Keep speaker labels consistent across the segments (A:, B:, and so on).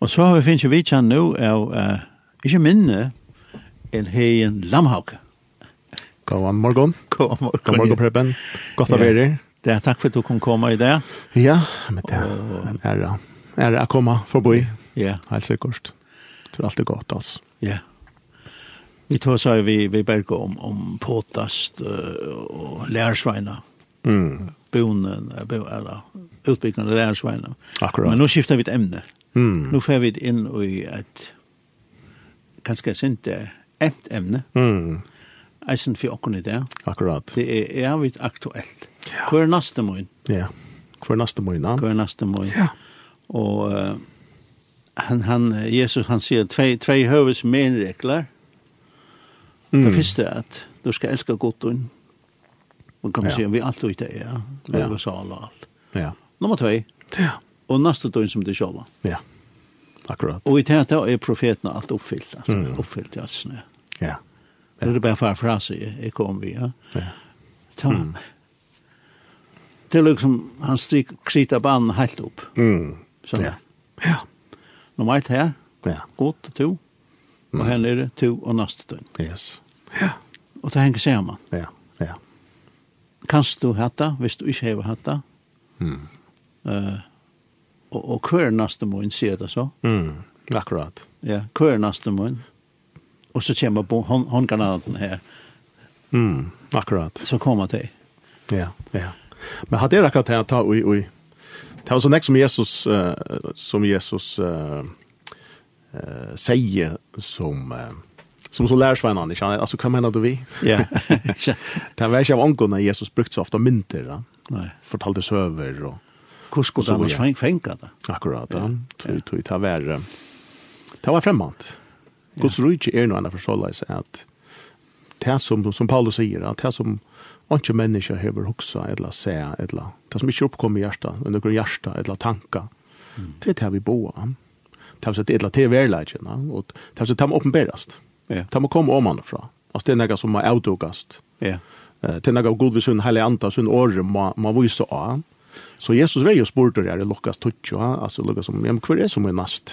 A: Og så har vi finnes vi kjenn nå av, uh, ikke minne, en hegen Lamhauke.
B: God morgon.
A: God morgen.
B: God morgon, Preben. Godt å
A: Ja.
B: være her.
A: Det er takk for at du kom komme i det.
B: Ja, men det er en ære. Ære å komme forbi,
A: Ja,
B: helt sikkert. Jeg tror alt er godt, altså.
A: ja. Vi tar seg vi, vi berger om, om påtast uh, um og lærersveina,
B: Mm.
A: bonen, eh, bo- eller utbyggende lærersveina.
B: Akkurat.
A: Men nå skifter vi et emne.
B: Mm.
A: Nu får vi inn i et kanskje sint emt emne,
B: Mm.
A: eisen for åkken i det.
B: Akkurat.
A: Det er evigt aktuelt.
B: Ja.
A: Hver er neste mån,
B: Ja. Hver neste måned.
A: hver neste mån.
B: Ja.
A: Og eh, han, han, Jesus han sier tvei, tvei høves menregler. Det
B: Mm.
A: første er at du skal elske godtun. Man kan
B: Ja.
A: ja. si vi alt ut det er,
B: Ja.
A: lov og sal og alt.
B: Ja.
A: Nummer tvei,
B: Ja.
A: og neste døgn som du sjåla.
B: Ja. Akkurat.
A: Og i det her er profetene alt oppfyllt, altså,
B: Mm.
A: oppfyllt i alt snø.
B: Ja.
A: Det er bare far frase jeg, jeg kom vi, ja.
B: Ja.
A: Ta,
B: Mm.
A: Det er liksom, han stryk, krita banen helt opp.
B: Mm.
A: Så,
B: Ja. Ja.
A: Nummer ett her,
B: Ja.
A: godt og to, og
B: Mm.
A: her nere to og neste døgn.
B: Yes. Ja.
A: Og det henger sammen.
B: Ja. Ja.
A: Kanst du hatta, hvis du ikke hever hatta,
B: Mm.
A: uh, og, og hver neste mån sier det så,
B: Mm. Akkurat.
A: ja, hver neste mån, og så kommer bo- hånd- håndgranaten her,
B: Mm. Akkurat.
A: så kommer det.
B: Ja, ja. Men hade det akkurat att ta oj oj. Det var så näck som Jesus eh, som Jesus eh eh, säger som eh, som så lärs varann annars. Alltså kan man då vi.
A: Ja.
B: Det var ju av angående Jesus brukt så ofta mynter, ja.
A: Nei.
B: fortalte söver och
A: Hvor skulle
B: Så
A: du annars
B: ja.
A: feng- fenga det?
B: akkurat.
A: Ja,
B: Ja. Tror tror det var eh, det var främmant. Guds rike er är nog en förståelse sig att det som som Paulus säger att det som inte människa behöver huxa eller säga eller det som inte uppkommer i hjärta under några hjärta eller tankar. Det är det här vi boar. ja. Det är så att det er är det verkligheten ja. och det är så att det må uppenbaras.
A: Ja,
B: Det må komma omanifrån. Alltså det är något som må outdogast.
A: ja,
B: Eh, til några god vid sin heliga anta sin år man man var ju så ah. Så Jesus er var ju spurt där det lockas touch och alltså lockas som men kvar är som en nast.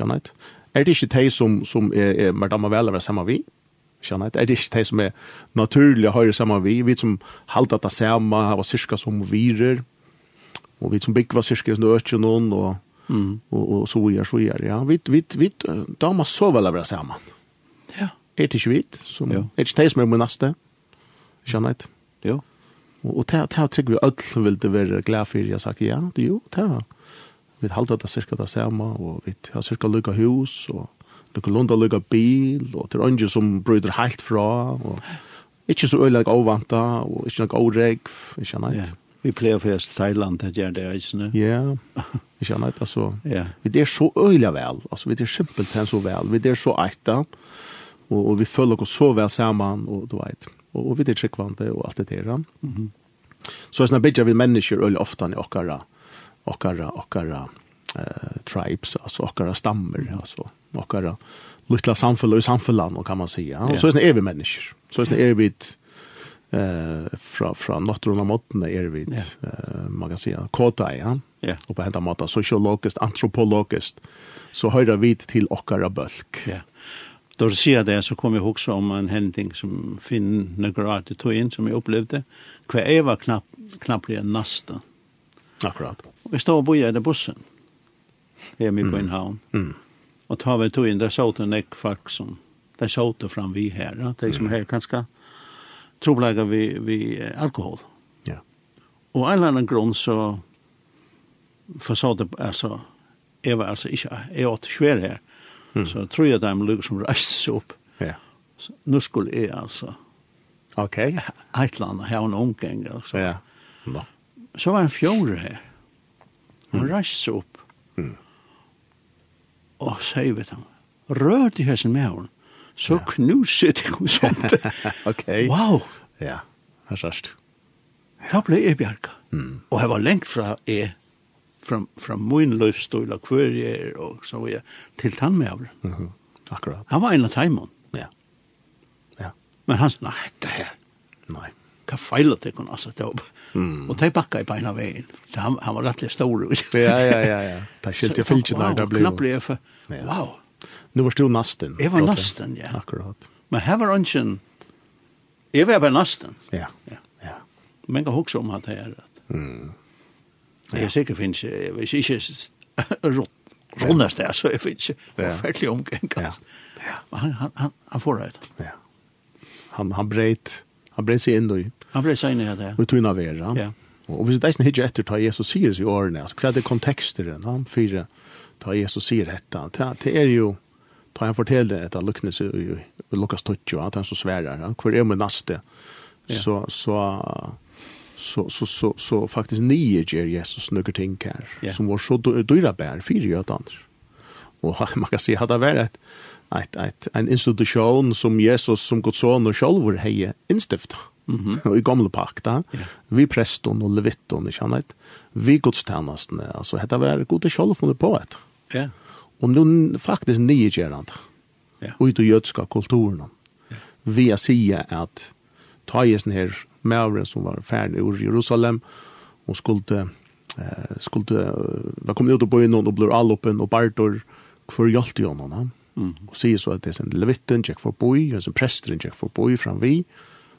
B: Janet. Är det inte det som som är är madame väl över samma vi? Janet. Är det inte det som är naturliga har ju samma vi vi som halta det samma har cirka som virer. Och vi som bygger cirka nu öch någon och
A: Mm.
B: och och så gör så gör ja. Vi vi vi damer så väl över samma.
A: ja,
B: Är det inte vi som
A: Ja.
B: är det det som är monaste? Janet.
A: jo,
B: Og og det det tycker vi öll vill det vara glad för jag sagt ja, det jo, det. Vi halda det cirka det samma och vi har cirka lukka hus och lukka lunda lukka bil och det är ingen som bryter helt fra och inte så öliga ovanta och inte något oregg, inte
A: ja.
B: annat.
A: Vi pleier først til Thailand, det gjør det eisene.
B: Ja, inte annat alltså.
A: Ja,
B: Vi är så öliga väl, alltså vi är simpelt än er så väl, vi är så äkta och, och vi följer oss så väl samman och du vet, och, och vi är tryggvande och allt det där. Mm Så er jag snabbare vi människor öliga ofta i åkara, åkara, åkara eh, tribes, alltså åkara stammer, alltså åkara lilla samfällan och samfällan kan man säga.
A: Ja.
B: Och så er är vi människor, så er är vi ett eh från från nattrona motten är er vi ett, eh man kan säga kåta ja
A: ja,
B: och på hända mata sociologiskt antropologiskt så höra vi till okkara bölk.
A: ja. Da du sier det, så kom jeg også om en hending som Finn Nøkkerat tog inn, som jeg opplevde. Hver jeg var knapp, knapplig en nasta.
B: Akkurat.
A: Vi stod og boja i bussen. Jeg er med på en havn.
B: Mm.
A: Og tar vi tog inn, der så det nek folk som, der så det fram vi her. Ja. Det er
B: Mm.
A: som her kanskje trobleger vi, vi eh, alkohol.
B: Ja.
A: Og en eller annen grunn så forså det, altså, jeg var altså ikke, jeg åt svær her.
B: Mm.
A: Så tror jeg dem lukker som reiste seg opp.
B: Ja.
A: Så, nå skulle jeg altså,
B: Okej.
A: et eller annet, ha en omgang. Altså.
B: Ja. Nå.
A: Så var en fjore her. Hun reiste seg opp.
B: Mm.
A: Og sier vi til ham, rør de hessen med henne, så knuser de henne sånt.
B: Okej.
A: wow,
B: Ja. Här sårst.
A: da ble jeg bjerga.
B: Mm.
A: Og jeg var lengt fra jeg, fra, fra min løvstol og hver jeg er, og så var jeg til han med henne.
B: Mhm. Akkurat.
A: Han var en av timen.
B: Ja.
A: Men han sa, nei, det her,
B: Nej.
A: hva feilet det kunne, altså, det var,
B: Mm.
A: og det bakka i beina veien, Så han, han var rettelig stor.
B: Ja, ja, ja, ja. Det er skilt jeg fyllt der det
A: Knapp
B: ble.
A: ble jeg for,
B: Ja.
A: wow,
B: Nu var du nasten.
A: jeg var nasten, ja.
B: Akkurat.
A: Men her var ønsken, jeg var bare nasten.
B: Ja.
A: Ja.
B: Ja.
A: Men jeg husker om at det er at,
B: Mm.
A: jeg sikkert finnes, jeg vet ikke, rått, Rundast det, så er jeg finnes ikke
B: Ja.
A: forferdelig omgang.
B: Ja.
A: altså. Og Han, han, han, han får det.
B: Ja. Han han breit han breit seg inn i
A: Han ble seg inn i det. er.
B: og tuna vera.
A: Ja.
B: Og hvis det er ikke etter ta Jesus sier i årene, altså hva er det konteksteren han fyrer ta Jesus sier dette, det det er jo ta han forteller etter luknes i i- i Lukas 12, at han så sværer, han, hvor er med naste,
A: Ja.
B: så, så, så, så, så, så faktisk nye gjør Jesus noen ting her,
A: Ja.
B: som var så dy- dyra bær, fire jødaner. Og man kan si at det var et, et, et, en institusjon som Jesus som Guds son og sjølver hei innstiftet.
A: Mhm.
B: og i gamle pakta, vi preston og levitton, ikke annet, vi godstjenestene, altså, dette var gode sjølvfunnet på etter.
A: Ja.
B: Og nu n- faktisk nyegerande.
A: Ja.
B: Ut og jødska kulturen.
A: Ja.
B: Vi er sige at ta i sin her mævren som var ferdig ur Jerusalem og skulle eh, skulle eh, var kommet ut og bøyen og blod alloppen og bartor hvor hjalp jo noen. Mm. Og sier så at det er sin levitten tjekk for boi, og sin presteren tjekk for boi fram vi,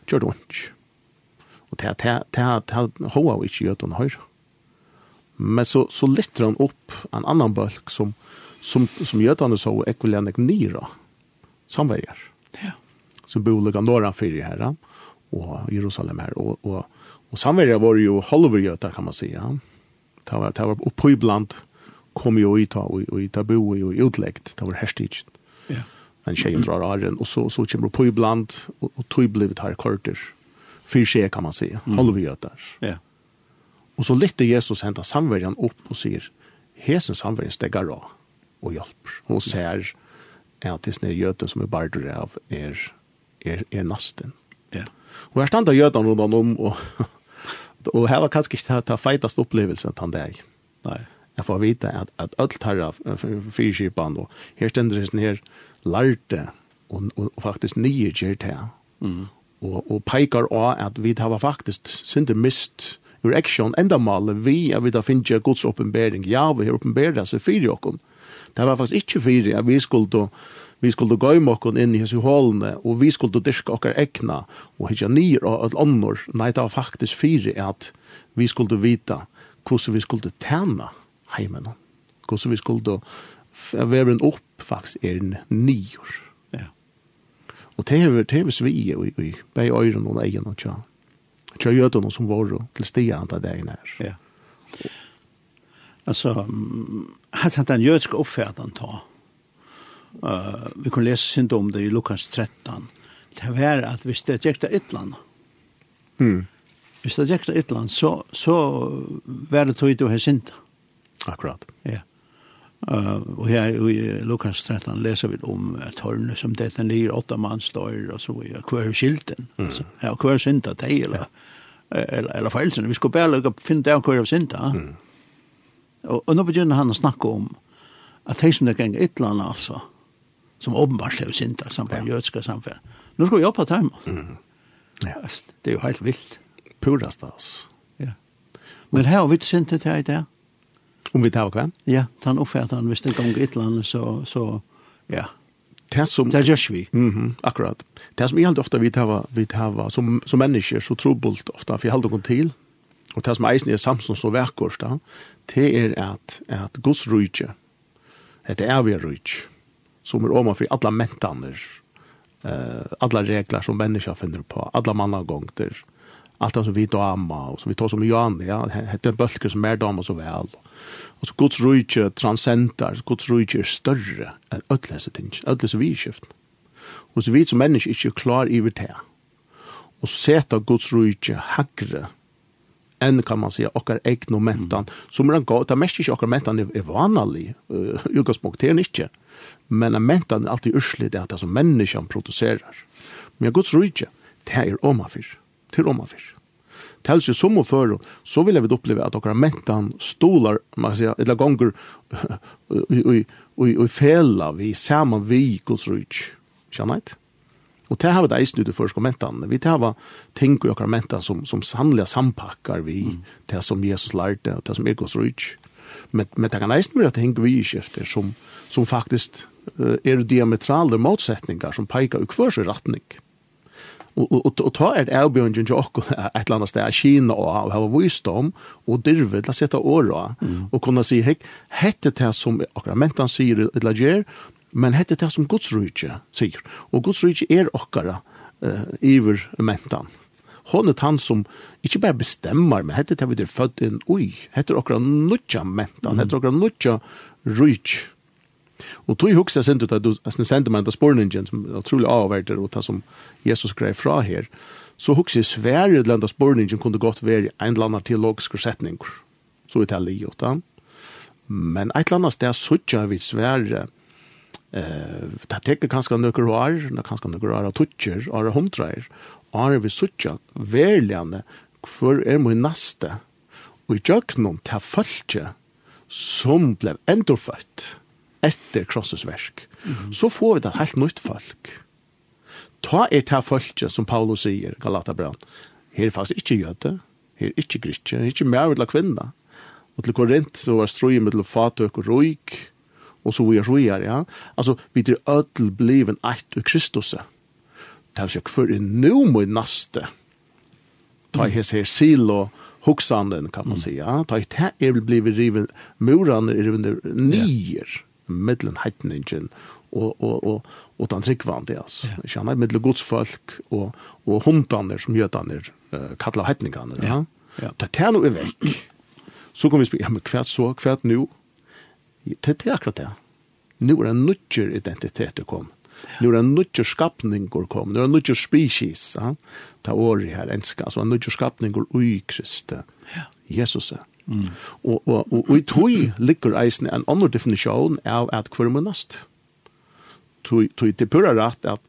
B: gjør det ikke. Og det er hoa og ikke gjør det høyre. Men så så lyfter han upp en annan bulk som som som Götane så ekvivalent nira samverjar
A: Ja.
B: som bor lika norra för här och Jerusalem här och och och samverjar var ju halver Göta kan man säga. Ta var ta var uppe ibland kom ju i ta och i ta bo i utläggt ta var härstigt
A: Ja.
B: en tjej drar arren och så så kommer på ibland och, och tog blivit här korter. Fyra tjejer kan man säga, halver Götar.
A: Ja.
B: Og så lytte Jesus henta samverjan opp og sier, hesen samverjan stegar av og hjelper. Og ser at det snir jøten som er bardur av er, er, er nasten.
A: Ja.
B: Og her standa jøten rundt om, og, og her var kanskje ikke ta feitast opplevelse at han deg.
A: Nei.
B: Jeg får vite at, at alt her av fyrkipan, og her stender det her lærte, og, og, og faktisk nye gjør det her. Og, og peikar av at vi har faktisk synder mist ur action enda male vi at vi da finner Guds oppenbering. Ja, vi har oppenberet seg fyrir okken. Det var faktisk ikke fyrir at vi skulle vi skulle gå med okken inn i hese hålene, og vi skulle dyrke okker ekna, og hitja nyer og et annor. Nei, det var faktisk fyrir at vi skulle vita hvordan vi skulle tjene heimen. Hvordan vi skulle være en opp faktisk er en nyer.
A: Ja.
B: Og det er det er svi i i bei øyren og egen og tja. Tja jødene som var og til stier han til dagen her.
A: Ja. Alltså mm, att han den judiska uppfärdan ta. Eh vi kan läsa sent om det i Lukas 13. Det var att visst det gick det ytland.
B: Mm.
A: Visst det gick det ytland så så var det tog du här sent.
B: Akkurat.
A: Ja. Eh och här i Lukas 13 läser vi om ett hörn som det är nio åtta man står och så är kvar skilten. Alltså er Mm. ja kvar synda det eller eller eller felsen vi ska bara lägga finna där kvar synda. Mm. Och och nu börjar han att snacka om att det som det gäng ett land alltså som uppenbart är synda samfällt judiska samfällt. Nu ska jag på tajm. Mm.
B: Ja.
A: Alltså, Det är ju helt vilt.
B: Purast altså.
A: Ja. Men här har vi inte synt det här i dag.
B: Om vi tar Um hva?
A: Ja, han uppfattar han visst en gång i ett land så, så ja,
B: Det som...
A: det görs vi.
B: Mhm, akkurat. Det som jeg helt ofte vi tar, vi tar som, som er mennesker, så trobult ofte, for jeg holder oss til, og det som eisen er Samson så verkost, da, det er at, at Guds rujtje, det er vi rujtje, som er om for alle mentaner, eh, alle regler som mennesker finner på, alle mannagongter, alt det som vi dama, og som vi tar som Jan, um ja, det er bølger som er dama så vel. Og så Guds rujtje transcendar, Guds rujtje er større enn ødelese ting, ødelese vidskiften. Og så vi som mennesker ikke er klar i det. Og så seta Guds rujtje hagre enn kan man säga okkar egn og mentan, som er en god, det er mest ikke okkar mentan er, er vanlig, uh, utgangspunkt, det er den ikke, men en mentan er alltid urslig det er det som menneskene produserer. Men Guds rujtje, det er omafyr, det er omafyr. Tals ju som och för så vill jag vid uppleva att några mentan stolar man kan säga eller gånger och och och fälla vi samman vi Guds rike. Känner ni? Og det har vi det eisen ut i førskommentanen. Vi tar ting og okkar mentan som, som sannlega sampakkar vi mm. det som Jesus lærte og det som er gos rujt. Men, men det kan eisen være at det henger vi i skifter som, som faktisk uh, er diametrale motsetningar som peikar i kvørs retning. Og, og, og, og ta er det avbjørnjen til okkur et eller annet sted av Kina og, og hava visdom og dirve til å sette åra mm. og kunne si, hei, hette det som akkurat mentan sier eller gjør, men hette det som Guds rydtje sier. Og Guds rydtje er okkara uh, iver mentan. Hon er han som ikke bare bestemmer, men hette det vi er født inn ui. Hette er okkara nutja mentan, mm. hette er okkara nutja rydtje. Og tog hugsa sent ut at du sender meg en sporningen som er utrolig avverter og det som Jesus skrev fra her, så hugsa jeg sverre til den sporningen kunne godt være en eller annen teologisk setning. Så vi taler i åtta. Men et eller annet sted suttja vi sverre eh ta tekur kanskje nøkker år, na kanskje nøkker år tutjer, år hundreier, år vi suttja verljande for er mo naste. Og i jøknum ta falche som blev endorfødt etter krossets verk. Mm. Så får vi det helt nytt folk. Ta er ta folket, som Paulus sier, Galatabran. Her er faktisk ikke jøde, her er ikke griske, her er ikke mer eller kvinne. Og til Korint så var strøy med til fatøk og røyk, og så vi er røyere, ja. Altså, vi er ødel bliven eit og Kristus. Det er ikke for en nå må i naste. Ta i hes her sil og hoksanden, kan man si, ja. Ta i det er blivet riven, murene er riven nyer. Yeah middelen heitningen og, og, og, og den tryggvande, altså. Ja. Ikke annet, middelen godsfolk og, og hundene som jødene uh, kallar heitningene. Ja. Ja. Det tar noe er vekk. Så kan vi spørre, ja, men hvert så, hvert nå? Det er akkurat det. Nå er det nødger identiteter kom. Nå er det nødger skapninger kom. Nå er det nødger species. Ja? Ta året her, enska. Altså, nødger skapninger ui Kristi. Ja. Jesus er. Mm. Og, og, og, og i tog ligger eisen en annen definisjon av at hver må nast. Tog til er pura rett at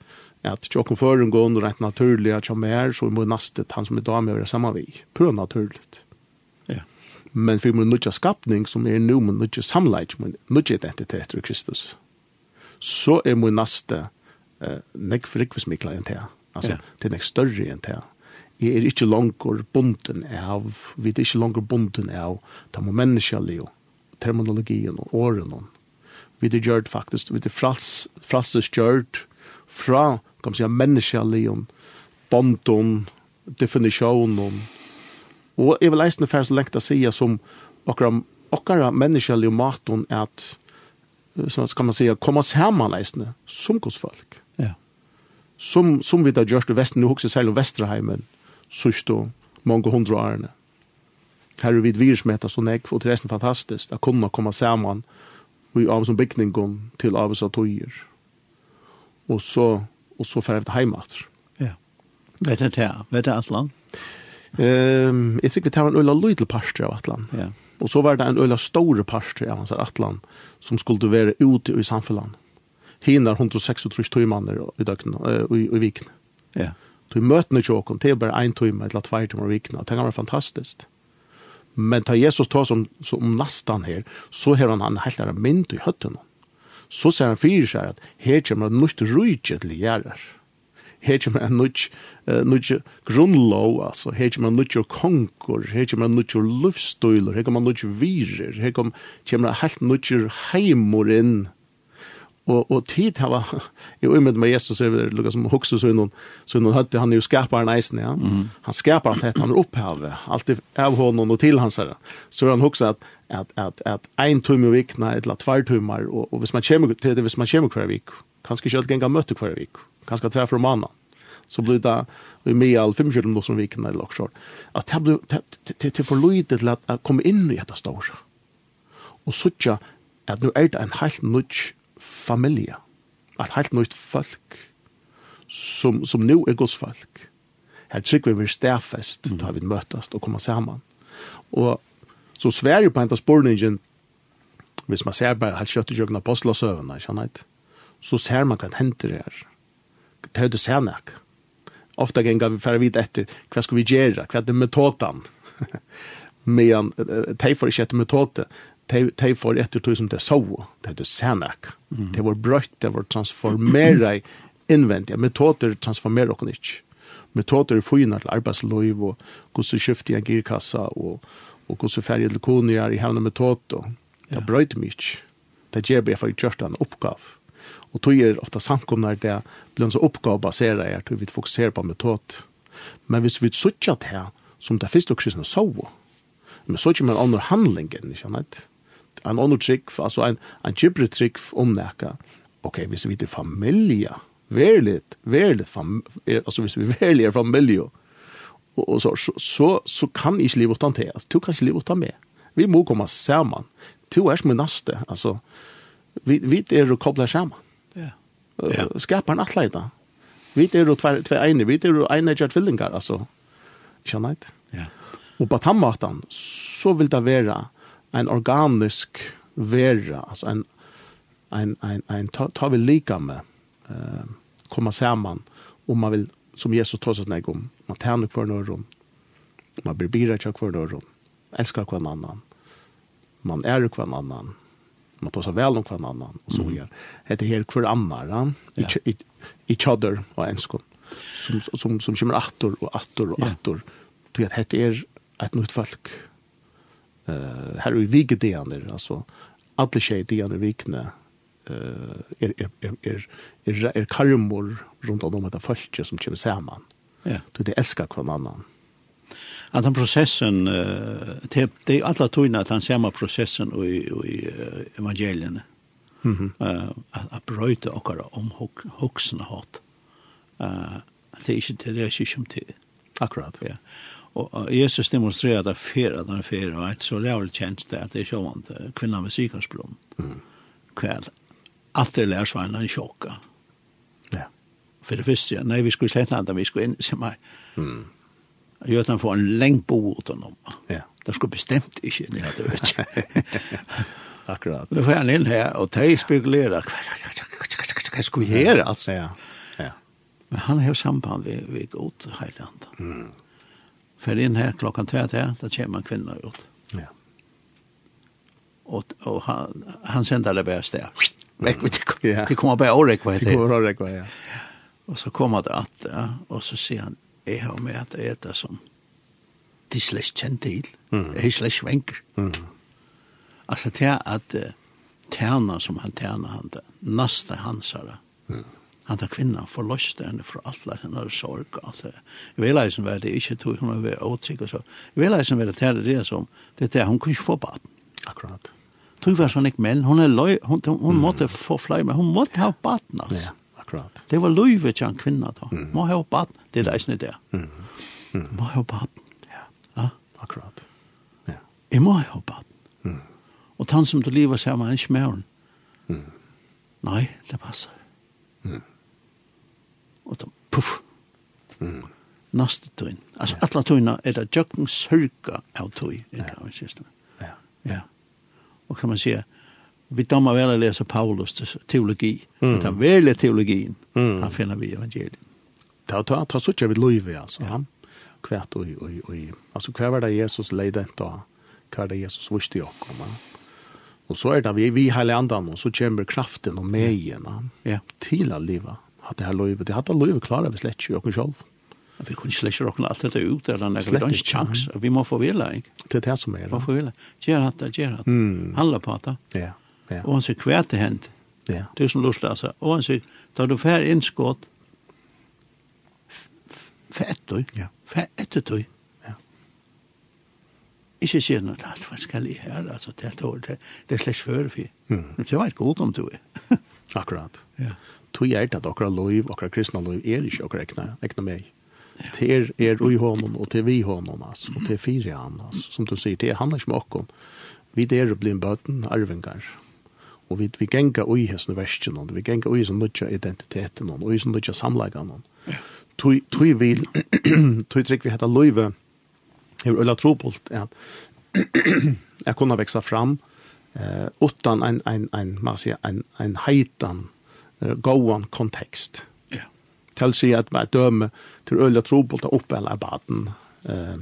B: at tjokken føren går under rett naturlig at som er, så må nastet han som i dag med være sammen vi. Pura naturligt. Ja. Men for min nødja skapning som er nu min nødja samleid, min nødja identitet i Kristus, så er min naste eh, nek for ikke smikla enn til. Altså, ja. det er nek større enn til jeg er ikke langer bunden av, vi er ikke langer bunden av, det må menneskelige, terminologien og årene. Vi er gjørt faktisk, vi er frals, fralses gjørt fra, kan man si, menneskelige, bunden, definisjonen, og jeg vil eisne færre så lengt å si som akkurat, akkurat menneskelige maten at, så kan man si, kommer sammen eisne, som godsfolk. Ja. Som, som vi da gjørst i Vesten, nu hukse selv om Vesterheimen, sørst og mange hundra årene. Her er vi et virsmeta som jeg, og til resten fantastisk, at kunne komme sammen og i av som bygningen til av som tøyer. Og så, og så fer jeg hjemme etter.
A: Ja. Vet du det? Vet du Atlan?
B: Um, jeg sikkert det var en øyla lydel parster av Atlan. Ja. Og så var det en øyla store parster av hans Atlan, som skulle være ute i samfunnet. Hinar 136 tøymanner i døgnet, og i, i vikene. Ja. Du møter ikke åkken, det er bare en time eller tvær timer i vikene, det kan være fantastisk. Men ta Jesus ta som, som um nastan her, så har han en helt annen mynd i høttene. Så ser han fyrir seg at her kommer en nytt rydtje til gjerrer. Her kommer en nytt, uh, nytt grunnlov, altså. Her kommer en nytt konger, her kommer en nytt lufstøyler, her kommer en nytt virer, her kommer, kommer en helt nytt heimor inn og og tid hava i umid med Jesus er det lukka som hugsa så innan så innan hatt han er jo skapar en eisen ja mm. han skapar alt dette han er opphavet alt av honom og til hans herre så er han hugsa at at at at ein tum i er vikna eller tvær tumar og, og hvis man kjem til det hvis man kjem kvar vik kanskje ikkje alt ganga møtte kvar vik kanskje tvær for manna så blir det i meal 45 minutter om vikna eller også er at det blir til for lite til at komme inn i dette store og suttja at nu er det en helt nudge familie, at helt nytt folk, som, som nu er Guds folk. Her trykker vi vi stærfest, mm. da vi møtes og kommer sammen. Og så Sverige på hentas borningen, hvis man ser bare helt kjøtt i kjøkken apostelsøvene, kjenner jeg så ser man hva henter her. Det er det senek. Ofta ganger vi færre vidt etter, hva skal vi gjøre, hva er det metoden? Men de får ikke etter metode, de, de får etter tog som de så, det er det senak. Mm. De var brøtt, de var transformeret innvendig. Metoder transformerer oss ikke. Metoder er fyrer til arbeidsløyv, og hvordan skifter jeg girkassa, og, og hvordan færger til konier i hevne metoder. Det
A: Ja.
B: brøyter meg ikke. Det gjør bare for jeg gjør en oppgave. Og tog er ofte samkomner det blir en sånn oppgave baseret er til vi fokuserer på metod. Men hvis vi sutja det her, som det første kristne sover, men så kommer en annen handling enn, ikke sant? En annen trygg, altså en, en kjibri trygg om nekka. Ok, hvis vi er familie, verlig, verlig, fam, er, altså hvis vi verlig er familie, og, og så, så, så, så kan ikke livet utan til, altså, du kan ikke livet utan med. Vi må komme sammen. Du er som en naste, altså, vi, vi er å koble sammen.
A: Ja.
B: Ja. Skapar en atleida. Vi er jo tve, tve egne, vi er jo egne kjært villingar, altså. Ikke sant?
A: Ja.
B: Og på tammatan, så vil det være en organisk vera, altså en, en, en, en ta, ta vi lika med, eh, komma saman, om man vil, som Jesus tar seg nek om, man tæner hver nøyron, man blir bira kjær hver nøyron, elskar hver annan, man er hver annan, man tar seg vel om hver annan, og så
A: Mhm.
B: gjør. Hette her hver annan, ja. each, each- each other og enskon, som, som, som kommer attor og attor og
A: Ja.
B: attor, du vet, hette er et nytt folk. Eh, her er vi vigedeaner, altså, alle tjejdeaner vikne, eh er er er er er, er karmor rundt om detta folket som kommer samman.
A: Ja.
B: Du det älskar kvarnannan.
A: Att den processen eh det det är alla tog att han samma processen och i och i eh, evangelierna. Mhm. Eh att att bryta och göra om huxen hat. Eh det är inte det är inte som till.
B: Akkurat.
A: Ja. Och och Jesus demonstrerar att fer att han fer och ett så lävligt känns det att det är så vant eh, kvinnan med sykdomsblom.
B: Mm.
A: Kväll. Att det lärs vara en chocka.
B: Ja.
A: För det första, ja, nej vi skulle släppa inte, vi skulle in se mig.
B: Mm.
A: Götan får en länk på åt honom.
B: Ja.
A: Det skulle bestämt inte ni hade vet.
B: Akkurat.
A: Då får han in här och tej spekulerar. Vad ska vi göra alltså?
B: Ja. Ja.
A: Men han har samband vid, vid åt Heiland. Mm. För in här klockan tre till, där kommer en kvinna ut.
B: Ja.
A: Och, och han, han sänder det bästa. där. Väck med det.
B: Mm. Ja.
A: Det kommer bara orek vad
B: Det
A: heter det.
B: går att räkna, ja.
A: Och så kommer det att, ja, och så ser han, jag har med att äta som de er släcks känd till.
B: Mm.
A: Jag släcks vänker.
B: Mm.
A: Alltså det är att eh, tärna som han tärna han där, nästa hansare. Mm. Han där kvinnan förlöste henne från alla hennes er sorg. Alltså, jag vill läsa vad det inte tog hon över åtsik och så. Jag vill läsa vad det är det som, det är hon kunde inte få barn.
B: Akkurat.
A: Tog var sån ikke menn, hon er løy, hon, hon, hon måtte få fløy, men hon måtte ha barn. Altså.
B: Ja. Akkurat.
A: Det var løyve til en kvinna da. Må ha barn, det er det ikke det. Mm. Må ha barn.
B: Ja.
A: Ja.
B: Akkurat. Ja.
A: Jeg må ha barn.
B: Mm.
A: Og han som du lever sammen, er han smøren. Mm. Nei, det passer. Mm. Og da, puff. Mm. Neste tøyn. Altså, alle tøyna er det jøkken sørga av tøy, er i gammelkisten.
B: Ja.
A: Ja. Og kan man si, vi dommer vel å lese Paulus teologi,
B: Mm.
A: mm. den verlige teologien,
B: Mm.
A: han finner vi i evangeliet.
B: Ta ta ta så tjävligt löve alltså. Ja. Kvärt och och och alltså kvar var det Jesus lejde då. Kvar det Jesus visste jag komma. Och så är det vi vi hela andan och så kommer kraften och mejen. Ja.
A: Ja.
B: til å leve. At det her løyve, det hadde løyve klarer vi slett ikke oss selv.
A: Vi kunne slett ikke råkne alt dette ut, eller noe, vi
B: Slett
A: har
B: ikke,
A: ikke chans, vi må få vila, ikke?
B: Det er det som er.
A: Man får vila. Gjør hatt, gjør hatt.
B: Mm.
A: Handla på hatt.
B: Ja, ja,
A: Og han sier hver til hent.
B: ja,
A: Det er som lustig, altså. Og han sier, da du fer innskått, fer etter,
B: Ja.
A: fer etter tøy.
B: Ja.
A: Ikke sier noe, er alt, hva skal jeg her, altså, det er tål, det, det er slett før for.
B: Mm.
A: Men det var ikke godt om du er.
B: akkurat.
A: Ja.
B: Tog er det at akkurat løyve, akkurat kristne løyve, er ikke akkurat ekne, ekne meg. Det er, er ui hånden, og det er vi hånden, altså, og det er fire han, altså. Som du sier, det handler ikke om åkken. Vi der blir en bøten, arvingar. Og vi, vi genga ui hesten versen, vi genga ui som nødja identiteten, og ui som nødja samleggene. Tui, tui vil, tui trygg vi hette løyve, hur Ulla Tropolt är att jag kunna växa fram eh utan en en en man säger en en heitan eh, goan kontext.
A: Ja.
B: Till sig att man dömer till Ulla Tropolt att upp eller baden. Eh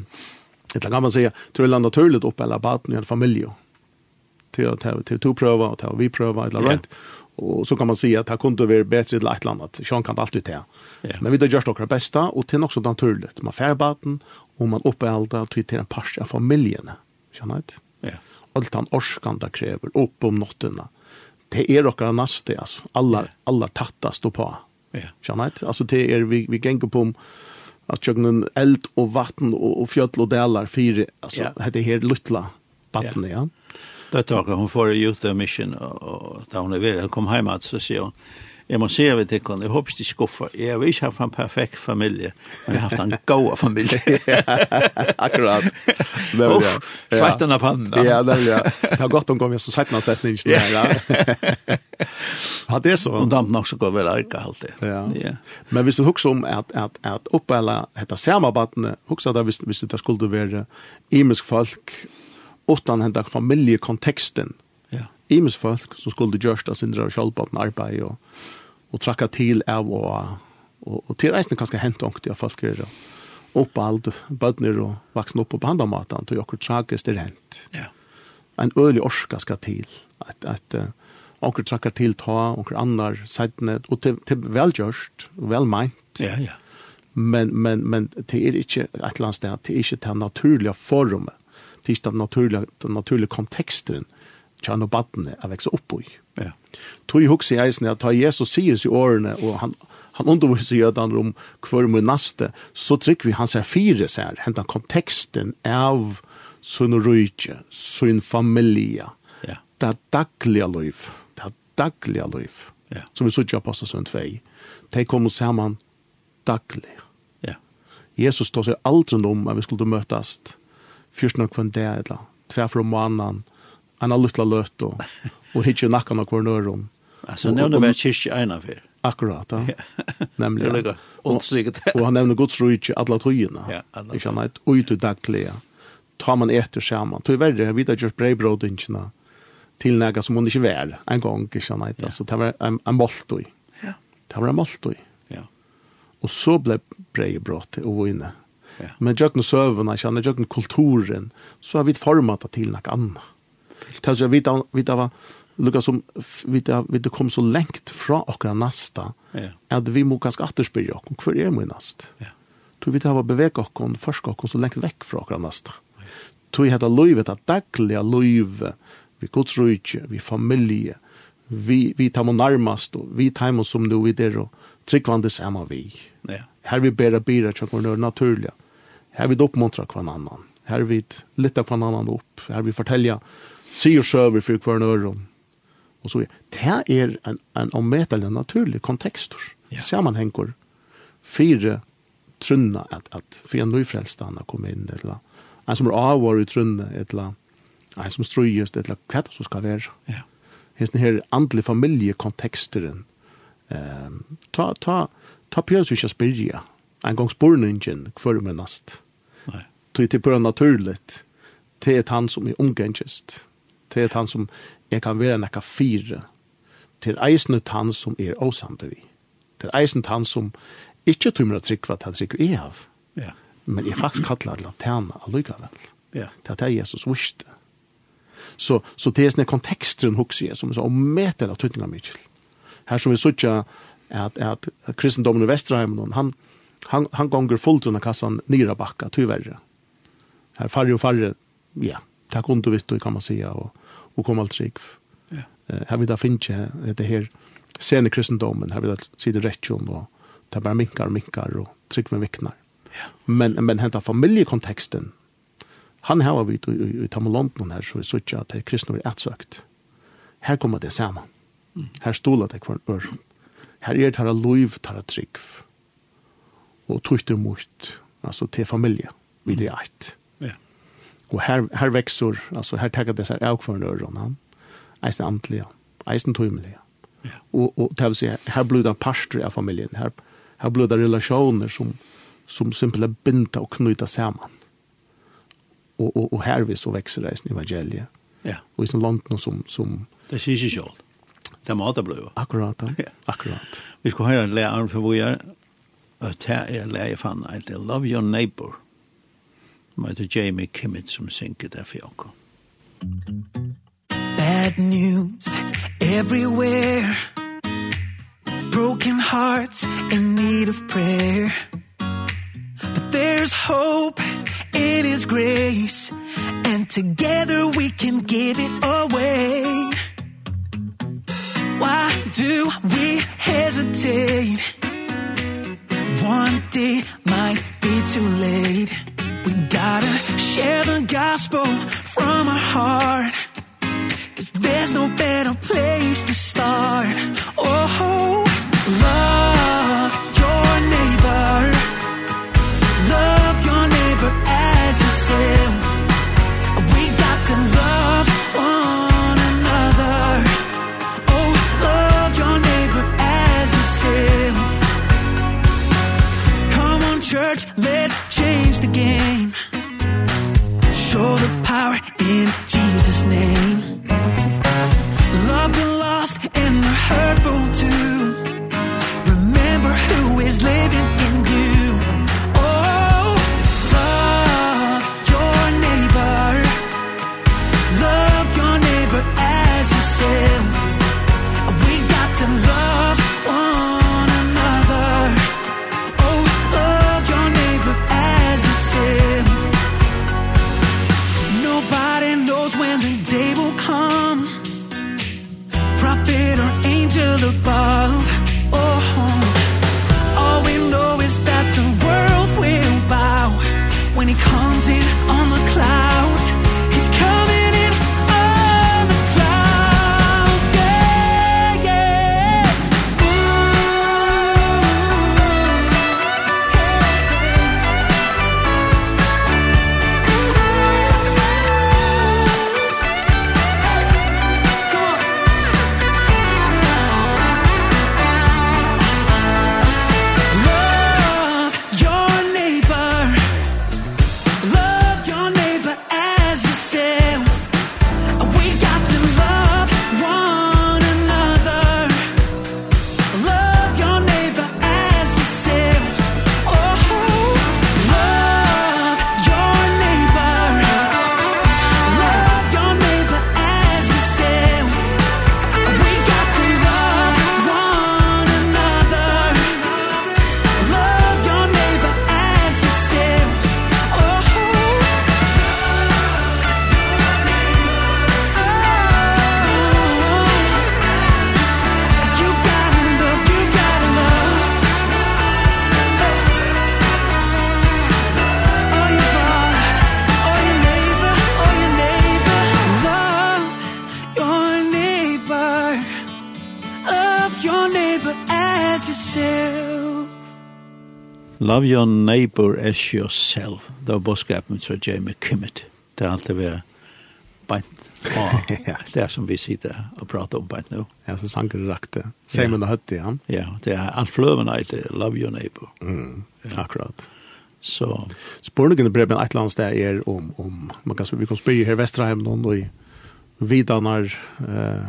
B: det kan man säga till Ulla naturligt upp eller baden i en familj. till att till att pröva och ta vi pröva eller
A: Ja.
B: right. Och så kan man säga att det kunde vara bättre eller ett eller annat. Sean kan alltid ta.
A: Ja.
B: Men vi då görs några bästa och till också er naturligt. Man färbaten och man uppehåller till till en pars er av familjen. Känner inte?
A: Ja.
B: allt han orskan det kräver upp um om notterna. Det är rockar näste alltså. Alla alla tatta står på.
A: Ja.
B: Känner inte? Alltså det är vi vi gänger på om att jögnen um eld och vatten och, och fjöll och delar fyra alltså
A: Ja.
B: det här lilla vatten ja.
A: Då tar hon för youth mission och- och då hon är väl hon kom hem att så säger hon Jag må se vet jag kan. Jag hoppas det skuffar. Jag vill inte ha en perfekt familj. Men jag har haft en god familj.
B: Akkurat.
A: Uff, svartan av pannan.
B: Ja, det ja. Det har gått om gång så sagt någon sättning inte där. Ja, det är så.
A: Och damt nog så går väl alka alltid.
B: Ja.
A: Ja.
B: Men hvis du husker om at, at, at oppella hetta samarbeidene, husker du hvis, hvis det skulle være imisk folk utan henta familjekonteksten,
A: Ja.
B: imisk folk som skulle gjørst av sindra og sjálfbaden arbeid og, og trakka til av og, og, og til reisende kanskje hent ångt av folk er oppald, bødner og vaksen opp på bandamaten, til okkur tragisk er hent
A: Ja.
B: en øyelig orska skal til. At, at uh, onker trakkar til ta, onker annar, sættene, og til, til velgjørst, og velmeint,
A: Ja, ja.
B: men, men, men det er ikke et eller annet sted, det er ikke det naturlige forumet, det er ikke det naturlige, det naturlige konteksten, tjan og badene er vekst opp i.
A: Ja.
B: Tog hugsa i eisen at ta Jesus sier i årene, og han, han underviser jødene om hver mun naste, så trykker vi hans her fire sær, hentan konteksten av sunn rujtje, sunn familie,
A: Ja.
B: det dagliga liv, det dagliga liv,
A: Ja.
B: som vi suttar på oss en tvei, de kommer saman daglig.
A: Ja.
B: Jesus tog seg aldri om at vi skulle møtast fyrst nok kvann det, eller tver fra måneden, en av luttla løt, og, og hitje nakkan av hver nøron.
A: Alltså nu när vi är kyrka ena för.
B: Akkurat, ja.
A: Det er
B: Nemlig.
A: är lika.
B: Og,
A: Åtstriket.
B: og han nevner Guds rujtje, alla tøyene.
A: Ja, alla
B: Ikke han et ut i daglige. Ta man etter sammen. Tøy verre, vi har gjort breibrådingene til nega som hun ikke vær en gang, ikke han et. Altså, det var en, en måltøy.
A: Ja.
B: Det var en måltøy.
A: Ja.
B: Og så ble breibrådet og inne.
A: Ja.
B: Men jøkken søvnene, ikke han, jøkken kulturen, så har vi format det til noe annet. Det er vi da, vi da var, lukka som, vi da, vi da kom så lengt fra okra nasta,
A: Ja.
B: at vi må ganske atterspyrja okkur, hver er min nast?
A: Ja.
B: Tu vi hava bevega okkur, forska okkur så lengt vekk fra okra nasta. Tu vi hetta løyve, hetta dagliga løyve, vi gods rujtje, vi familie, vi, vi tar må nærmast, og vi tar må som du vi der, og tryggvande sama vi.
A: Ja.
B: Her vi bera bira tjokkvar nør naturliga. Her vi oppmuntra kvann annan. Her vi litta kvann annan opp. Her vi fortelja sier søver for kvann øron. Og så er det er en, en omvetelig naturlig kontekstor.
A: Ja.
B: Sammanhengur. Fire trunna at, at fire nøyfrelstana kom inn, etla. En som er avvar i trunna, etla. En som strøyest, etla. Hva er det som skal være?
A: Ja.
B: hesten her andlig familjekonteksteren. Ehm ta ta ta Petrus vi ska spyrja. En gång spurningen kvar med nast.
A: Nej.
B: Tog till på naturligt. Det är han som er är omgängest. Det är han som jag kan vara en fyra. Till eisen ut er han som är osamte vi. Till eisen ut han som inte tumrar tryck vad han trycker i av.
A: Ja.
B: Men er jag faktiskt kallar lantana allugavel.
A: Ja.
B: Det er det Jesus visste. Så, så det er sånne konteksten hos jeg, som er så ommetel av tøytninga mykje. Her som vi sutja at, at kristendommen i Vesterheimen, han, han, han gonger fullt under kassan nira bakka, tyverre. Her farre og farre, ja, er takk ondt og vitt, kan man sija, og, og kom alt trygg.
A: Ja.
B: Eh, Her vil da finne det her sene kristendommen, her vil da sida rettjon, og det er bare minkar, minkar, og trygg med viknar.
A: Ja.
B: Men, men henta familjekonteksten, han har vi i, i, i Tamalonten her, så vi sutja at det er kristne er etsøkt. Her kommer det saman. Her stoler det hver ør. Her er det her loiv, her er trygg. Og tøyter mot, altså til familie, vi det er eit.
A: Ja.
B: Og her, her vekser, altså her tekker disse avkvarende ørene, eisen antelige, eisen tøymelige.
A: Ja.
B: Og, og det vil si, her blir det parster av familien, her, her blir det relasjoner som, som simpelthen binder og knyter sammen. Og, og, og her vil så vekser eisen evangeliet.
A: Ja.
B: Og i sånn landen som, som
A: Det syns ju själv. Det måste bli.
B: akkurat,
A: Ja.
B: akkurat.
A: Vi ska höra en lärare för vad jag att här är lärare fan att I love your neighbor. Med Jamie Kimmett som synker där för jag.
C: Bad bad news everywhere Broken hearts in need of prayer But there's hope in his grace And together we can give it away Why do we hesitate? One day might be too late We gotta share the gospel from our heart Cause there's no better place to start Oh, love your neighbor Love your neighbor as yourself We got to love one another Oh, love your neighbor as yourself Come on church, let's change the game Show the power in Jesus' name Love the lost and the hurtful too Remember who is living in you Oh, love your neighbor Love your neighbor as yourself We got to love one another Oh, love your neighbor as yourself Nobody knows when the day will come prophet or angel above oh all we know is that the world will bow when he comes in on the clouds he's coming in on the clouds yeah yeah Come on. Love your neighbor Love your neighbor as yourself We got to love one another Love your neighbor as yourself Oh Love your neighbor Love your neighbor as yourself We got to love one another Love your neighbor as yourself. Oh, Oh, you gotta love, you gotta love. Oh, your bar, oh your neighbor, oh your neighbor. Love your neighbor, love your neighbor as yourself.
A: Love your neighbor as yourself. Det var budskapen fra Jamie Kimmett. Det er alltid vært beint. Og
B: Ja.
A: det er som vi sitter og prater om beint nå.
B: Ja, så sanker rakte. Same under høtti, ja.
A: Ja, det er alt fløvene etter Love your neighbor.
B: Mm, akkurat.
A: Så
B: Spurningen i breven et eller annet sted er om, om man kan, vi kan spyrre her i Vesterheim noen og i Vidanar eh,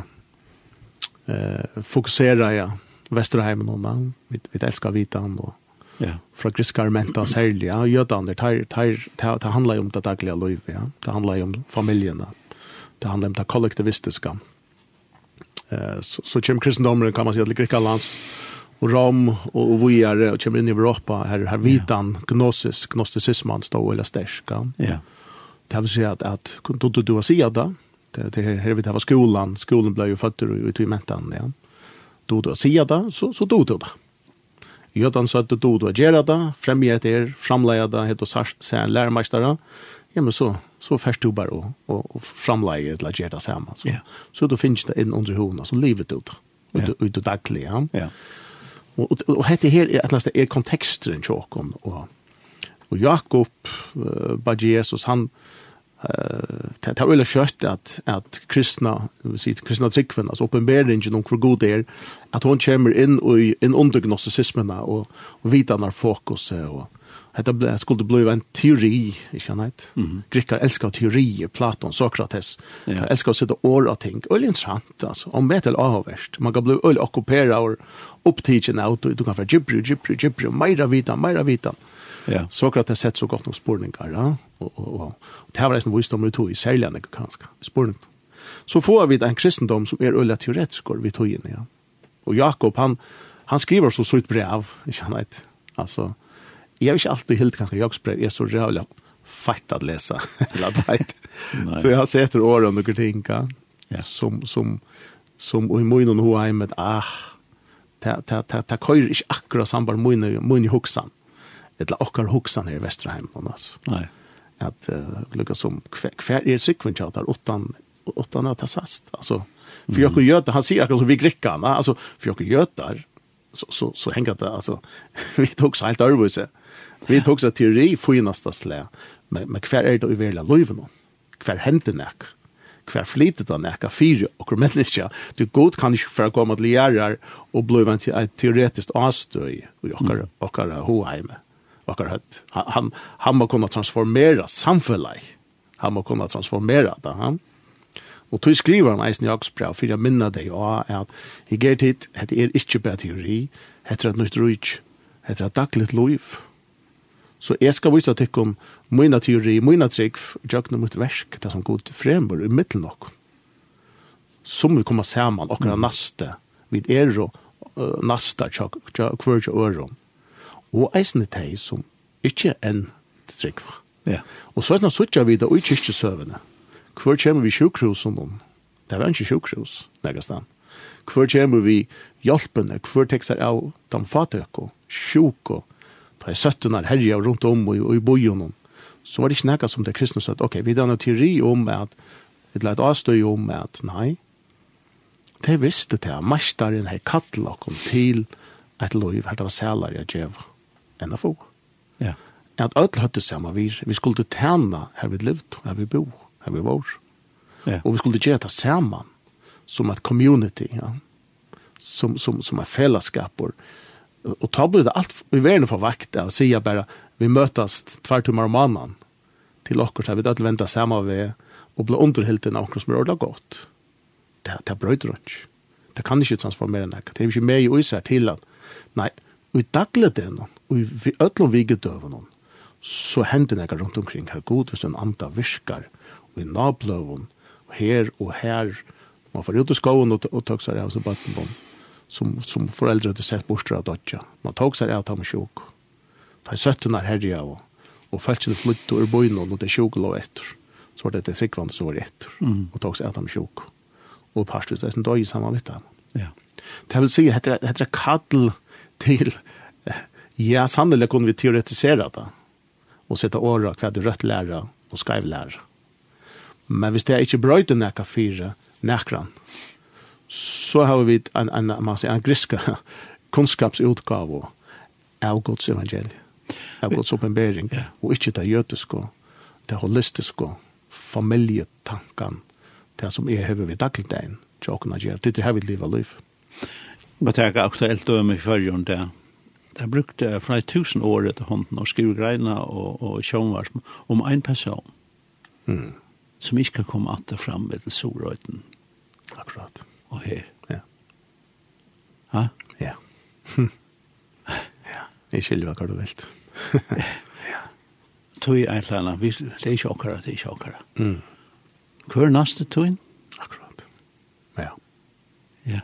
B: eh, fokusera ja, Vesterheim noen, ja. vi, vi elskar Vidan og
A: ja,
B: fra griskarmenta særlig, ja, jødaner, tar, tar, tar, det handlar jo om det daglige livet, ja. det handlar jo om familien, ja. det handlar om det kollektivistiske. Eh, så, så kommer kristendomen, kan man si, til Grikalands, og Rom, og, og vi er, og kommer inn i Europa, her, her vidan, gnosis, gnostisismen, stå eller stersk, ja.
A: ja,
B: Det vil si at, at du, du, du har sida da, det, det her, her vi det var skolan, skolan ble jo født i tog mentan, ja. Du, du har sida da, så, så du, du da. Jötan sa at du, du har gjerra da, fremje et er, framleie da, het og sars, se en lærmeistare, ja, men så, så først du bare og, og, og framleie et la gjerra sammen. Så,
A: Ja.
B: så du finnes det inn under hoven, så livet ut, ut,
A: Ja.
B: ut, ut daglig, ja.
A: ja,
B: Og, og, og hette her er atlas det er konteksten tjåkon, og, og Jakob, uh, bare Jesus, han, eh, det det er veldig kjøtt at, at kristna, vi sier kristna tryggven, altså oppenberingen om hvor god det er, at hon kommer inn, og, i- inn under gnostisismene og, og vidanar fokuset, og Hetta ble, det skulle bli en teori, ikke han heit? Grikkar elskar teorier, Platon, Sokrates.
A: Ja.
B: Ja. elskar å sitte år av ting. Øylig interessant, altså. Om vet eller avverst. Man kan bli øylig okkupera og opptidsen av, du du kan få gybbru, gybbru, gybbru, meira vitan, meira vitan.
A: ja,
B: Sokrates sett så godt nok spurningar, ja. Og, og, og, og det her var nesten visdom ut i særlig enn kanskje. Spurning. så får vi en kristendom som er øyla teoretisk vi tog inn, ja. Og Jakob, han, han skriver så sutt brev, ikke han vet. Altså, jeg har ikke alltid helt kanskje Jakobs brev er så rævlig fett at lese, eller at vet.
A: Nei.
B: For han setter året om noen ting, ja.
A: Ja.
B: Som, som, som, og i munnen hun er med, ah, ta, ta, ta, ta, køyr ikke akkurat sambar munnen, munnen i hoksan. Eller akkurat hoksan her i Vesterheim, altså
A: Nei.
B: at uh, lukka som hver, hver er sikven tjatar utan utan at ha sast alltså för jag gjöta han ser akkurat som vi grickarna alltså för jag gjötar så så så hänger det alltså vi tog så helt överse vi tog så teori finaste slä men men hver er det i verla löven hver händer näck hver flitet han näka fyra och människa du god kan inte för komma till lärar och bli en te- ett teoretiskt avstöj och jag och jag hemme okkar høtt. Han, han, han må kunne transformera samfunnet. Han må kunne transformera det. Han. Og tog skriver han eisen i Aksbra, for jeg minner deg av at i gert hit, hette er ikke bare teori, hette er et nytt rujt, hette er et dagligt liv. Så jeg skal vise til om mine teori, mine trygg, jøkne mot versk, det som god fremmer i middelen nok. Som vi kommer sammen, okkar naste, vid er og uh, naste, kvørtje øron og eisne tei som er ikkje enn tryggva.
A: Ja.
B: Og så er det suttja vi det og i kyrkjesøvene. Hvor kommer vi sjukrosen om? Det var ikke sjukrus, negastan. Hvor kommer vi hjelpene? Hvor tekster av de fatøko, sjuko, da er søttenar herja rundt om og, i- og i bojonen. Så var det ikke nekka som det kristne sa, at, ok, vi dannar teori om at, et leit avstøy om at, nei, det visste det, mestaren her kattla kom til et loiv her det var sælare jeg djev enn å få
A: Ja.
B: at öll høtte saman vir. Vi skulle tæna her vi levd, her vi bo, her vi var.
A: Ja.
B: Og vi skulle gjøre det saman som et community, ja. som, som, som et fellesskap. Og, og ta blir det alt i verden for vakt og sier bare vi møtes tvert om mannen til okkur, så vi øll venta saman vi og blir underhilt av okkur som er ordentlig godt. Det, det brøyder ikke. Det kan ikke transformere nek. Det er ikke med i oiser til at, nei, og i daglig det noen, og i vi- øllom vigedøven noen, så hender nekka rundt omkring her god hvis en anda virkar og i nabløven og her og her man får ut i skoven og, og tog seg av seg bøttenbom som, som foreldre hadde sett bortstra av dodja man tog seg av dem sjuk ta i søttenar herja og, og følsene flytt og urboin og det sjuk lå etter så var det det sikvande som var etter og tog seg av dem sjuk og parstvis det er som døy saman vitt dem
A: Ja.
B: Det vil si, heter det er kall til, eh, ja, sannelig kunne vi teoretisere det, og sette året hva det rødt lærer er og skrev lærer. Men hvis det er ikke brøyde nekka fire, nekran, så har vi en, en, en, man sier, en griske kunnskapsutgave av Guds evangelie, av Guds oppenbering, og ikke det jødiske, det holistiske, familietanken, det som er hever vi dagligdagen, tjåkene gjør. Det er her vi lever liv.
A: Man tar aktuellt døme i fyrjon der. Der brukte fra tusen år etter hånden og skrive greina og, og sjånvars om en person
B: Mm.
A: som ikke kan komme atter fram ved til Sorøyten
B: Akkurat.
A: og her.
B: Ja.
A: Ha?
B: Ja. ja. Jeg skiljer hva du vilt.
A: Tøy er et eller annet. Vi- Det er ikke okkara, det er ikke okkara.
B: Mm.
A: Hver er neste tøyen?
B: Akkurat. Ja,
A: Ja.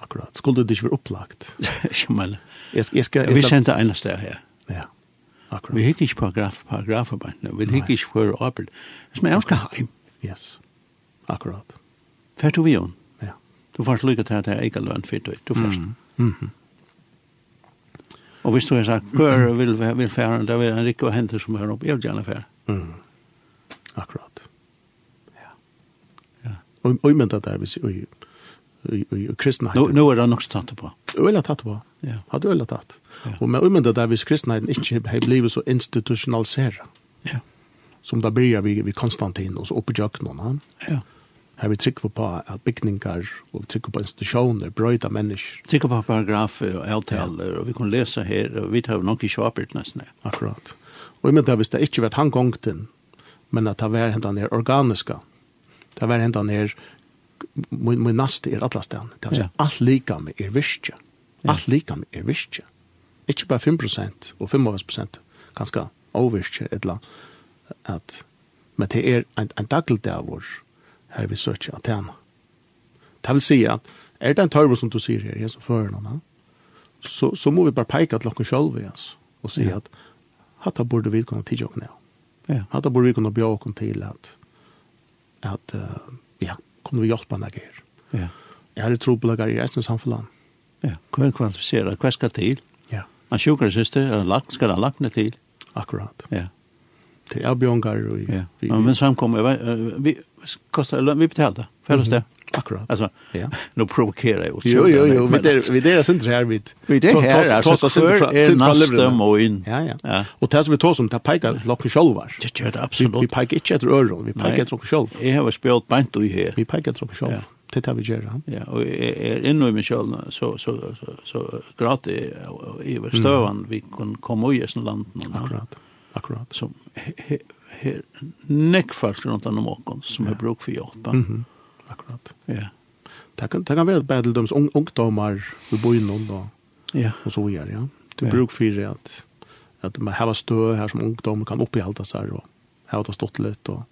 B: akkurat. Skulle det ikke være opplagt?
A: Ikke men.
B: Jeg, jeg skal...
A: Vi
B: jeg skal-
A: sendte en sted her.
B: Ja,
A: Vi
B: akkurat.
A: hikker ikke paragraf, paragrafer på henne. Vi hikker ikke hver arbeid. Men jeg skal er heim.
B: Yes. Akkurat.
A: Fær tog vi jo.
B: Ja.
A: Du får lykke til er at jeg ikke har lønn for tøy. Du først.
B: Mm
A: Og hvis du har sagt, hver vil, vil fære, der vil en rikke og hente som hører opp, jeg er vil gjerne fære.
B: Mm. Akkurat.
A: Ja.
B: Ja. Og og men det der vi sier og kristna.
A: Nå, nå er det nok stått på.
B: Øyla tatt på.
A: Ja.
B: Hadde øyla tatt.
A: Ja.
B: Og men men det der hvis kristenheten ikke har blivit så institutionaliserad.
A: Ja.
B: som da byrjar vi, vi Konstantin og så oppe i jøkkenen. han.
A: Ja.
B: Her vi trykker på at bygninger og vi trykker på institusjoner, brøyda mennesker.
A: Tykker på paragrafer og avtaler, og vi kan lese her, og vi tar nok ikke arbeid nesten. ja.
B: Akkurat. Og jeg mener hvis det ikke vært han gongten, men at det var hentan er organiska, det var hentan er min, min naste er atlastan, det vil si
A: Ja.
B: alt lika med er virkje. Alt lika med er virkje. Ikke bare 5% og 5% ganske overvirkje, eller at men det er en, en dagligdavur her vi søker at henne. Det vil si at, er det en tørve som du sier her, Jesus fører noen, så, så må vi bare peke til dere selv, yes, og si
A: Ja.
B: at, hatta burde vi kunne tidsi okken av.
A: Ja.
B: Hatta burde vi kunne bjøre okken til at, at eh, ja, kunne vi hjelpe henne her.
A: Ja.
B: Jeg har tro på dere i resten av samfunnet.
A: Ja. Hva kvalifiserer? Hva skal til?
B: Ja,
A: En sjukere søster, er lagt, skal han lagt ned til?
B: akkurat.
A: Ja.
B: Til jeg bjørnger og
A: Ja.
B: vi,
A: Men, men samkommer, vi, vi, kostar, vi betalte, felles det.
B: akkurat.
A: Alltså,
B: Mhm. Ja.
A: nu provokerar jag.
B: Jo, jo, jo, vi der, vi der er sindre her, vi
A: Vi det här, alltså, kvar är nästa mån.
B: Ja, ja.
A: Ja.
B: Og det som vi tar som, det peker lokken sjolvar.
A: Det er gör det
B: Vi, vi
A: absolut.
B: peker ikke etter øren, vi
A: Nei.
B: peker etter lokken sjolv.
A: Jag har spelat bant i här.
B: Vi peker etter lokken
A: Ja.
B: sjolv. Det er det vi gjør, ja.
A: Ja, och är inne i mig själv så, så, så, så gratis över
B: Mhm.
A: stövan vi kan komma i sådana land.
B: Akkurat, akkurat.
A: Som här näckfallt runt om åkon som har bruk för hjälp.
B: Mhm, akkurat.
A: Ja,
B: Det kan, det kan være et bedeldøms ung, ungdommer i bøynen og,
A: ja,
B: og så gjør, ja. Det
A: Ja.
B: er bruk for at, at man har stø her som ungdom kan oppihalte seg, og her har det stått litt, og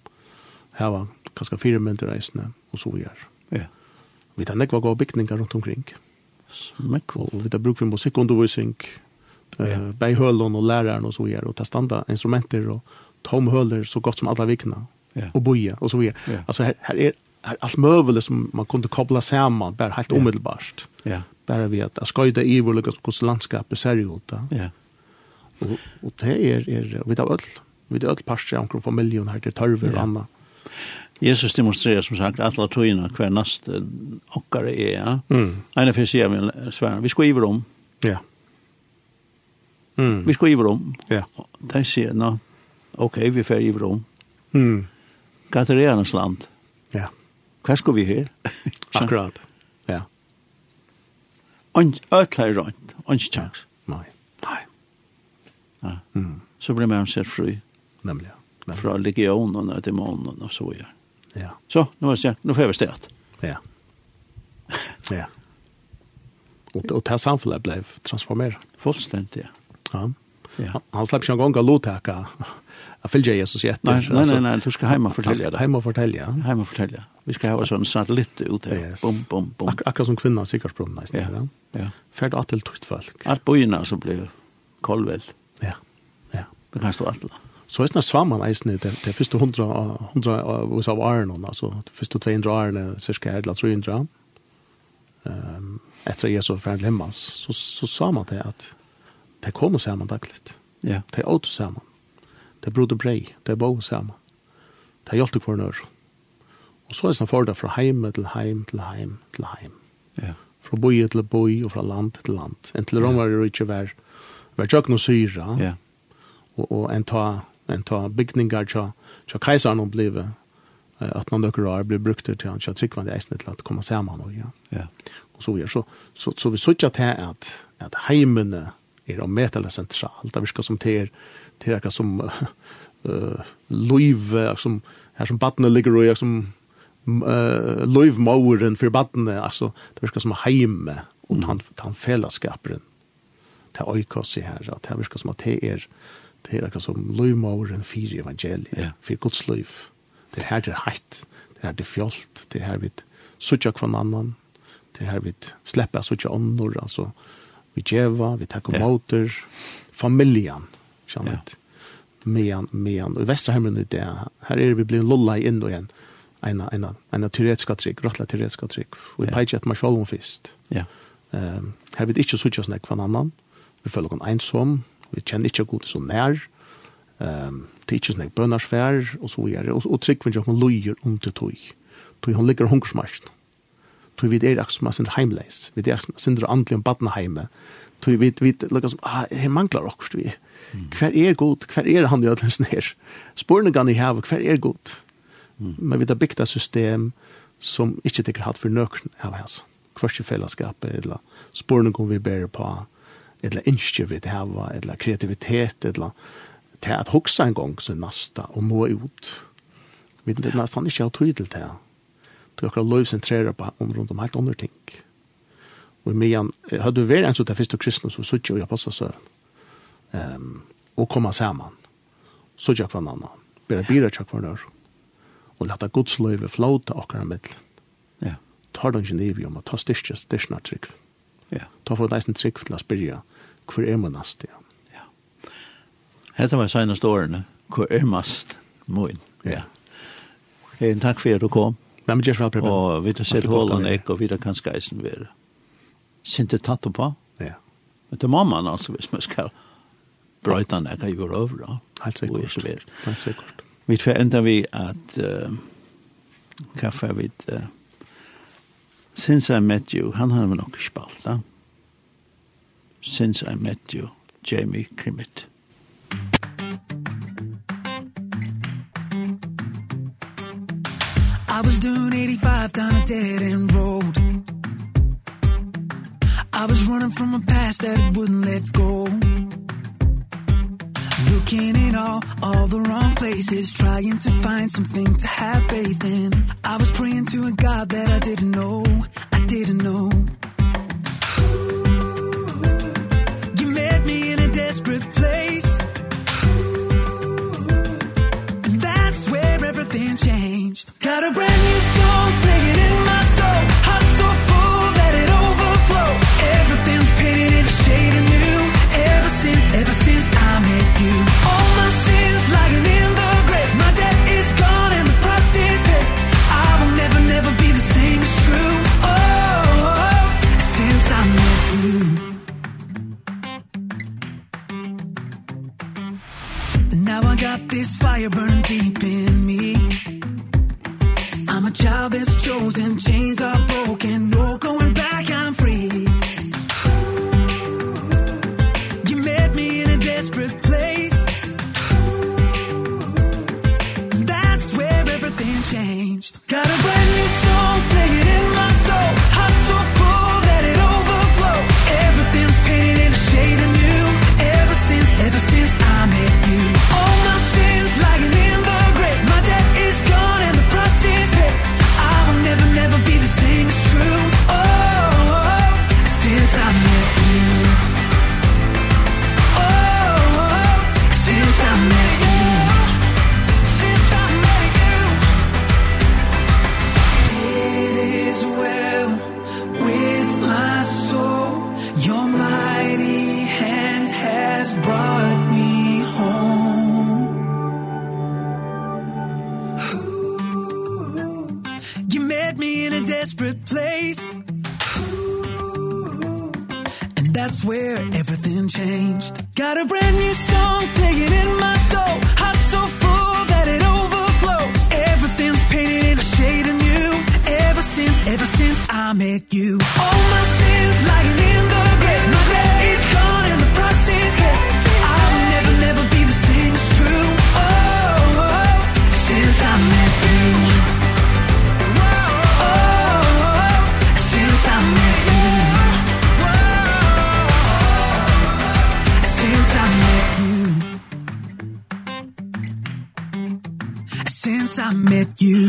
B: her var kanskje fire minutter reisende, og så gjør.
A: ja.
B: Vi tar nekva gode bygninger rundt omkring.
A: Smäckvåld.
B: Og vi tar bruk eh, for musikkundervisning,
A: Ja.
B: ja. beihølen og læreren og så videre, og ta standa instrumenter og tomhøler så godt som alle vikna,
A: Ja.
B: og boja og så videre.
A: Ja.
B: Altså her, her er her er alt møvelig som man kunne kobla sammen, bare helt
A: Ja.
B: umiddelbart.
A: Ja,
B: Bare ved at jeg skøyde i hvor lukkast hvordan landskapet ser ut. da.
A: ja,
B: Og, og det er, er vi tar øl, vi tar øl parster omkring familien her til tørver
A: Ja.
B: og annet.
A: Jesus demonstrerar som sagt alla trojorna hver nast okkare er, ja.
B: Mm.
A: Ena fyrir sier vi sværen, vi skriver om,
B: Ja. Mm.
A: vi skriver om.
B: Ja.
A: Og De sier, nå, ok, vi fer i om.
B: Mm.
A: Gatererarnas land,
B: Ja,
A: hva skal vi her?
B: akkurat. Ja,
A: Ötla er rönt, ønsk tjans.
B: nei,
A: Nei. Ja.
B: Mm.
A: Så blir man sett fri
B: nemlig. ja. Nemlig.
A: fra legionen og dæmonen og så videre.
B: Ja,
A: Så, nu er det sagt, nu får vi stedet.
B: ja. Ja. Og, og det samfunnet ble transformert.
A: Fullstendig, ja.
B: Ja.
A: Ja.
B: Han, han slapp ikke en gang å lottake. Jeg fylgjer Jesus i etter.
A: Nei, nei, nei, nei, du skal heima
B: Han
A: fortelle
B: skal
A: det.
B: hjemme og fortelle, ja.
A: Heima fortelle. Vi skal ha sånn satellitt ut her.
B: Yes.
A: Bum, bum, bum.
B: Ak akkurat som kvinna sikkerhetsbrunnen, nesten.
A: Ja,
B: Ja.
A: ja.
B: Ferd at til tukt folk.
A: Allt bojorna som blev kolvelt.
B: Ja, ja.
A: Det kan stå alla.
B: Så er det svamman eisen i det, det første hundra, av- hundra av oss av åren, uh, altså det første 200 årene, cirka her til 300, um, etter at Jesus ferd lemmas, så, så sa man det at det kom sammen dagligt.
A: Ja.
B: Det åt sammen. Det brodde brei. Det bo sammen. Det hjalp hver nør. Og så er det sånn for det fra heim til heim til heim til heim.
A: Ja.
B: Fra boi til boi og fra land til land. En til romar er ikke vær vær tjøkken og syra.
A: Ja.
B: Og, og en ta, en ta bygningar tja, tja kaisaren om blive at noen døkker år blir brukt til han tja tryggvande eisne til at komme sammen. Og, ja.
A: Ja.
B: og så videre. Så, så, så vi sørger til at, at heimene er om metale sentralt. Det virker som til, til akkurat som uh, løyve, som, her som badene ligger og er, som uh, løyvmåren for badene. Altså, det virker som heime og tan, tan fellesskaperen til øykos i her. At det virker som at det er det er akkurat som løyvmåren for evangeliet,
A: Ja.
B: for Guds løyv. Det er her det er heitt, det er her det er fjolt, det er her vi sutja kvann annan, det er her vi slepper sutja ånder, altså vi djeva, vi takk
A: Ja.
B: om åter, familjan,
A: Ja.
B: kjennet, mean, mean, og i Vesterheimen i det, her er vi blivit lulla inn og igjen, ena, ena, ena tyretska trygg, rottla tyretska trygg, og vi
A: Ja.
B: peitje etter meg sjolv om fyrst.
A: Ja.
B: Um, her vil ikke sutja snakk kvann annan. Vi føler oss ensom. Vi kjenner ikke god så nær. Um, det er ikke snakk bønarsfær, og så videre. Og, og trygg vil ikke hun løyer om til tog. Tog hun ligger hungersmarsjen. Tog vi er akkurat som er sin heimleis. Vi er akkurat som er andelig om badneheime. Tog vi vi lukkar som, ah, her manglar okkur vi. Hver er god? Hver er han i ødelens nær? Spurningan i hava, hver er god? Men vi har byggt et system som ikke tykker hatt for nøkken av hans. Kvørste fellesskapet, eller spårningen vi bærer på, eller innskje vi til hava, eller kreativitet, eller til at hoksa en gang som nasta og nå ut. Vi vet nesten ikke har tøyd til det. Til akkurat lov sentrerer på om rundt om helt andre um ting. Og eh, medan, hadde vi vært en sånn til første kristne som suttje og apostelsøren, ehm, um, og komme sammen, suttje hver annen, bare bira tjekk hver annen, og leta Guds løyve flåta okkara middelen.
A: Ja.
B: Tar du ikke niv i om å ta styrkja styrkna trygg.
A: Ja.
B: Ta for neisen trygg til å spyrja, hvor er man nast, ja.
A: Hetta var seinast årene. Hvor er mast? Moin. Ja. Hei, takk for at du kom.
B: Nei, men gjør så vel, Preben.
A: Og vi har sett
B: Vær så god,
A: hålen
B: Daniel.
A: ek, og vi har kanskje eisen være. Sinte tatt og på.
B: Ja,
A: Men det må man altså, hvis man skal brøyta nek, jeg gjør over da.
B: helt
A: Og er så
B: sikkert.
A: vær.
B: Helt sikkert.
A: Vi får enda vi at uh, kaffe vi uh, Since I Met You, han har nok ikke spalt da. Since I Met You, Jamie Kimmett.
C: I was doing 85 down a dead end road. I was running from a past that it wouldn't let go. Looking in all, all the wrong places, trying to find something to have faith in. I was praying to a God that I didn't know, I didn't know. You met me in a desperate place. And that's where everything changed. Got a brand new song playing in my soul. Heart so full that it overflows. Everything's painted in a shade of new. Ever since, ever since I met you. All my sins lying in the grave. My debt is gone and the price is paid. I will never, never be the same. It's true. Oh, since I met you. Now I got this fire burning deep in me. I'm a child that's chosen, chains are broken, no going back, I'm free. You met me in a desperate place. That's where everything changed. Got a brand new song playing in my soul. Heart so full that it overflows. Everything's painted in a shade of new. Ever since, ever since I met you. All my sins lying in the grave. My debt is gone and the price is paid. I will never, never be the same. It's true. Oh, since I met you. Oh, since I met you. Since I met you It is well with my soul Your mighty hand has brought me home Ooh, You met me in a desperate place Ooh, And that's where everything changed. Got a brand new song playing in my soul. Heart so full that it overflows. Everything's painted in a shade of new. Ever since, ever since I met you. All my sins lying in the grave. My debt is gone and the price is paid. I will never, never be the same. It's true. Oh, since I met you. Oh, since I met you. Since I met you Since I met you